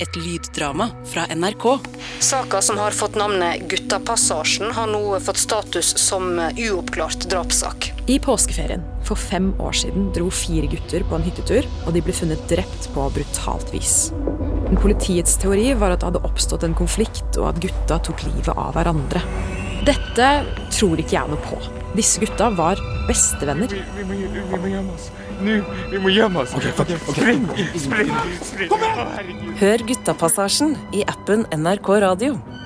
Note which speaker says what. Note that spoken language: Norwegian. Speaker 1: Et lyddrama fra NRK.
Speaker 2: Saka som har fått navnet Guttapassasjen, har nå fått status som uoppklart drapssak.
Speaker 3: I påskeferien for fem år siden dro fire gutter på en hyttetur, og de ble funnet drept på brutalt vis. Men Politiets teori var at det hadde oppstått en konflikt, og at gutta tok livet av hverandre. Dette tror ikke jeg noe på. Disse gutta var bestevenner.
Speaker 4: Vi, vi, må, gj- vi må gjemme oss. Nå, vi må gjemme oss. Spring, spring, spring. Å, herregud.
Speaker 5: Hør Guttapassasjen i appen NRK Radio.